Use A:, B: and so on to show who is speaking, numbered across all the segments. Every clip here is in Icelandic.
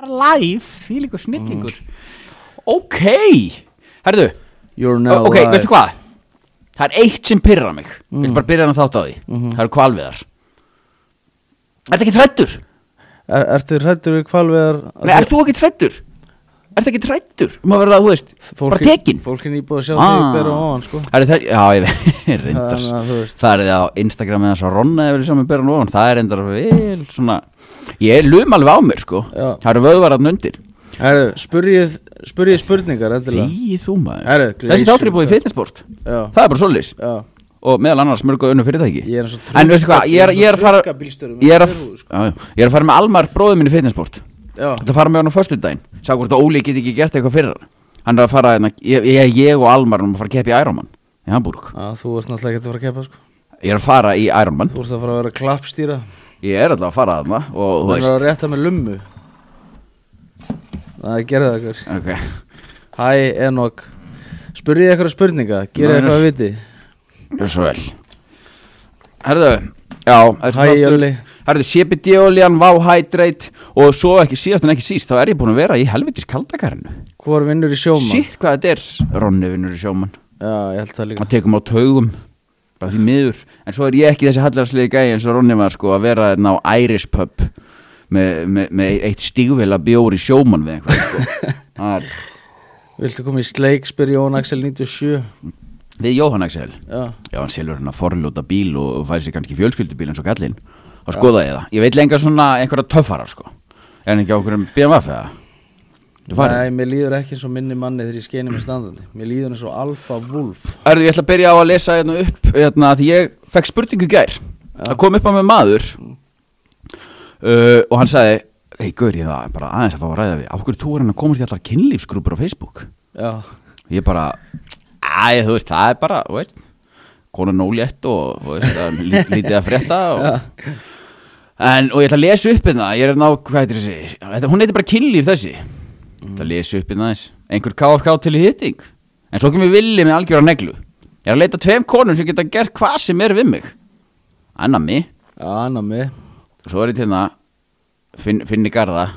A: bara live, því líka snillingur
B: Mm. Ok, herðu
C: You're now
B: Ok,
C: live.
B: veistu hvað? Það er eitt sem pyrrar mig mm. Mhm. Veistu bara byrja hann að þátt á því Það eru kvalviðar Ertu ekki trættur?
C: er, Ertu hrættur við kvalveðar
B: Nei, ert þú ekki trættur? Ertu ekki trættur? Um að verða, þú veist, bara tekin
C: Fólk er nýbúið að sjá
B: Ah.
C: ah. þig bera ofan sko
B: Herðu, það er, já, ég veit, reyndar
C: Þannig að þú veist
B: Það er það á Instagram eða svo Ronna eða sem er byrjan ofan Það er reyndar vel svona Ég lum alveg á mér sko
C: Já.
B: Það eru vöðvar að nöndir
C: Herru, spurjið, spurjið spurningar endilega
B: Því þú maður
C: Herru,
B: Þessi þáttur er búið í fitnessport
C: Já,
B: Það er bara svolis
C: já
B: Og meðal annars mörgu önnu fyrirtæki
C: Ég er eins og
B: En veistu hvað, ég er, ég er að fara
C: Trukkabílstjóri með
B: Ég er að,
C: gleraugu, sko.
B: já, já, ég er að fara með Almar bróðið minni í fitnessport
C: Já,
B: Þetta fara með hann á föstudaginn Sá hvort að Óli geti ekki gert eitthvað fyrir hann Hann er að fara, hérna, ég, ég, ég og Almar erum að fara að keppa í Ironman Í Hamburg
C: Já, þú varst náttúrulega ekki að fara að keppa sko
B: Ég er að fara í Ironman
C: Þú ert að fara að vera klappstýra
B: Ég er alltaf að fara þarna Og
C: Þú
B: þú
C: ert að
B: veist
C: rétta með lummu Það gerðu það hver
B: Ok,
C: Hæ, Enok Spurjið eitthvað spurninga,
B: Maður.
C: gerðu eitthvað að viti
B: gjör svo vel Herðu, já þetta
C: Hæ,
B: er
C: Jölli
B: Herðu, CBD-oljan, Wow Hydrate Og svo ekki síðast en ekki síst Þá er ég búin að vera í helvitis kaldakarinu
C: Hvor vinnur í sjóman?
B: Sitt hvað þetta er Ronni vinnur í sjóman
C: Já, ég held það líka
B: Maður tekum á taugum Bara því miður En svo er ég ekki þessi hallarslegi gæi eins og Ronni var sko Að vera þarna á Iris Pub Með, með, með eitt stígvela bjór í sjóman Við einhvern sko Það er-
C: Viltu koma í sleik, spyr Jón Axel 97
B: Við Jóhann Axel
C: Já,
B: Já, hann selur hérna forljóta bíl og, og fæði sér kannski fjölskyldubíl eins og kallinn þá skoða ég það. Ég veit lengar svona einhverja töffara sko. Er hann ekki á einhverjum BMW eða? Þú farið?
C: Nei, mér líður ekki eins og minni manni þegar ég skeni með standandi Mér líður eins og alfa vúlf
B: Erðu, ég ætla að byrja á að lesa hérna upp hérna því ég fekk spurningu í gær. Það kom upp á með maður uh, og hann sagði Hei, gaur, ég það bara aðeins að fá að ræða við. Af hverju þú er hann að komast í allar kynlífsgrúpur á Facebook?
C: Já,
B: Ég bara, æ, þú veist, það er bara, þú veist, konan ólétt og, þú veist, það er lí- lítið að frétta og, en, og ég ætla að lesa upp hérna, ég er ná, hvað heitir þessi, þetta, hún heitir bara kynlíf þessi, ég ætla að lesa upp hérna þess, einhver KFK til í hitting, en svo kemur villi með algjöra neglu, ég er að leita tveim konum sem geta gert hvað sem er við mig, annar mig,
C: já, annar mig
B: og svo er ég til hérna, finn, finni garða,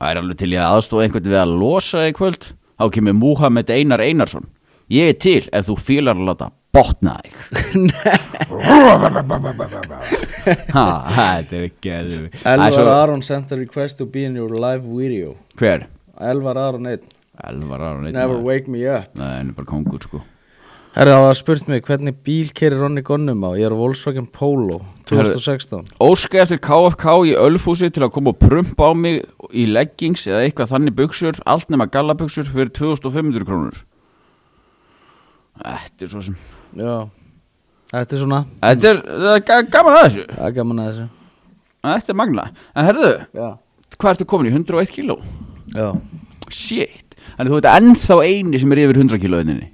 B: það er alveg til ég aðstóð einhvern við að losa þig í kvöld, þá kemur Múhamed Einar Einarsson. Ég er til ef þú fílar að láta botna þig. ha, þetta er ekki að þú.
C: Elvar Aron sent a request to be in your live video
B: Hver?
C: Elvar Aron 1
B: Elvar Aron.
C: Never wake me up
B: Nei, hann er bara kongur sko.
C: Herra það var spurt mig hvernig bíl keirir Ronny Gunnum á Ég er Volkswagen Polo 2016
B: Óska eftir KFK í Ölfúsi til að koma og prumpa á mig í leggings eða eitthvað þannig buksur, allt nema gallabuksur fyrir 2500 krónur. Þetta er svo sem...
C: Já Þetta er svona
B: Þetta er, það er ga- gaman að þessu.
C: Það er gaman að þessu
B: Þetta er magna. En herðu,
C: Já
B: hvað ertu komin í? 101 kíló?
C: Já
B: Shit. Þannig þú veit að ennþá eini sem er yfir 100 kíló inninni.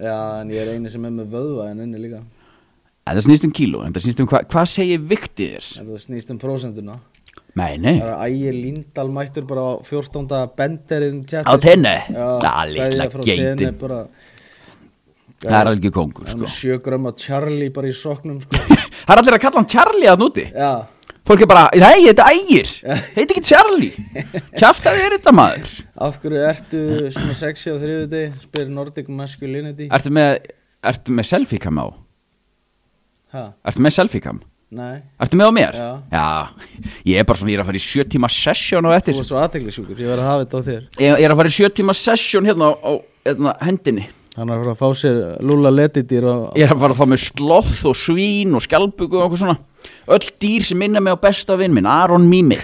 C: Já, en ég er eini sem er með vöðva en inni líka
B: En það snýst um kíló, en það snýst um hva, hvað segir viktið þér?
C: En það snýst um prósenduna
B: Nei, nei.
C: Það er að ægir Líndal mættur bara á 14. benderinn
B: Á tenni? Já,
C: kveðja
B: litla
C: frá tenni
B: geitin.
C: bara
B: Það er alveg kongur,
C: Það er
B: sko.
C: með sjö grömm af Charlie bara í soknum sko.
B: Það er allir að kalla hann Charlie að núti.
C: Já,
B: Fólk er bara, nei, þetta er ægir. Heit ekki Charlie. Kjáft að þið er þetta maður.
C: af hverju ertu svona sexy á þriðuti spyr Nordic Masculinity
B: Ertu með, ertu með selfie cam á?
C: Ha,
B: Ertu með selfie cam?
C: nei,
B: Ertu með á mér?
C: Já.
B: Já. Ég er bara svona, ég er að fara í sjö tíma session á
C: þú
B: eftir.
C: var svo aðteglisjúkur Ég verð að hafa þetta á þér
B: Ég, ég er að fara í sjö tíma session hérna á, á hérna, hendinni
C: Hann er að fara að fá sér lúla letidýr og...
B: Ég er að fara að fá með sloth og svín og skjálpugu og okkur svona Öll dýr sem minna mig á besta vinn minn, Aron Mimi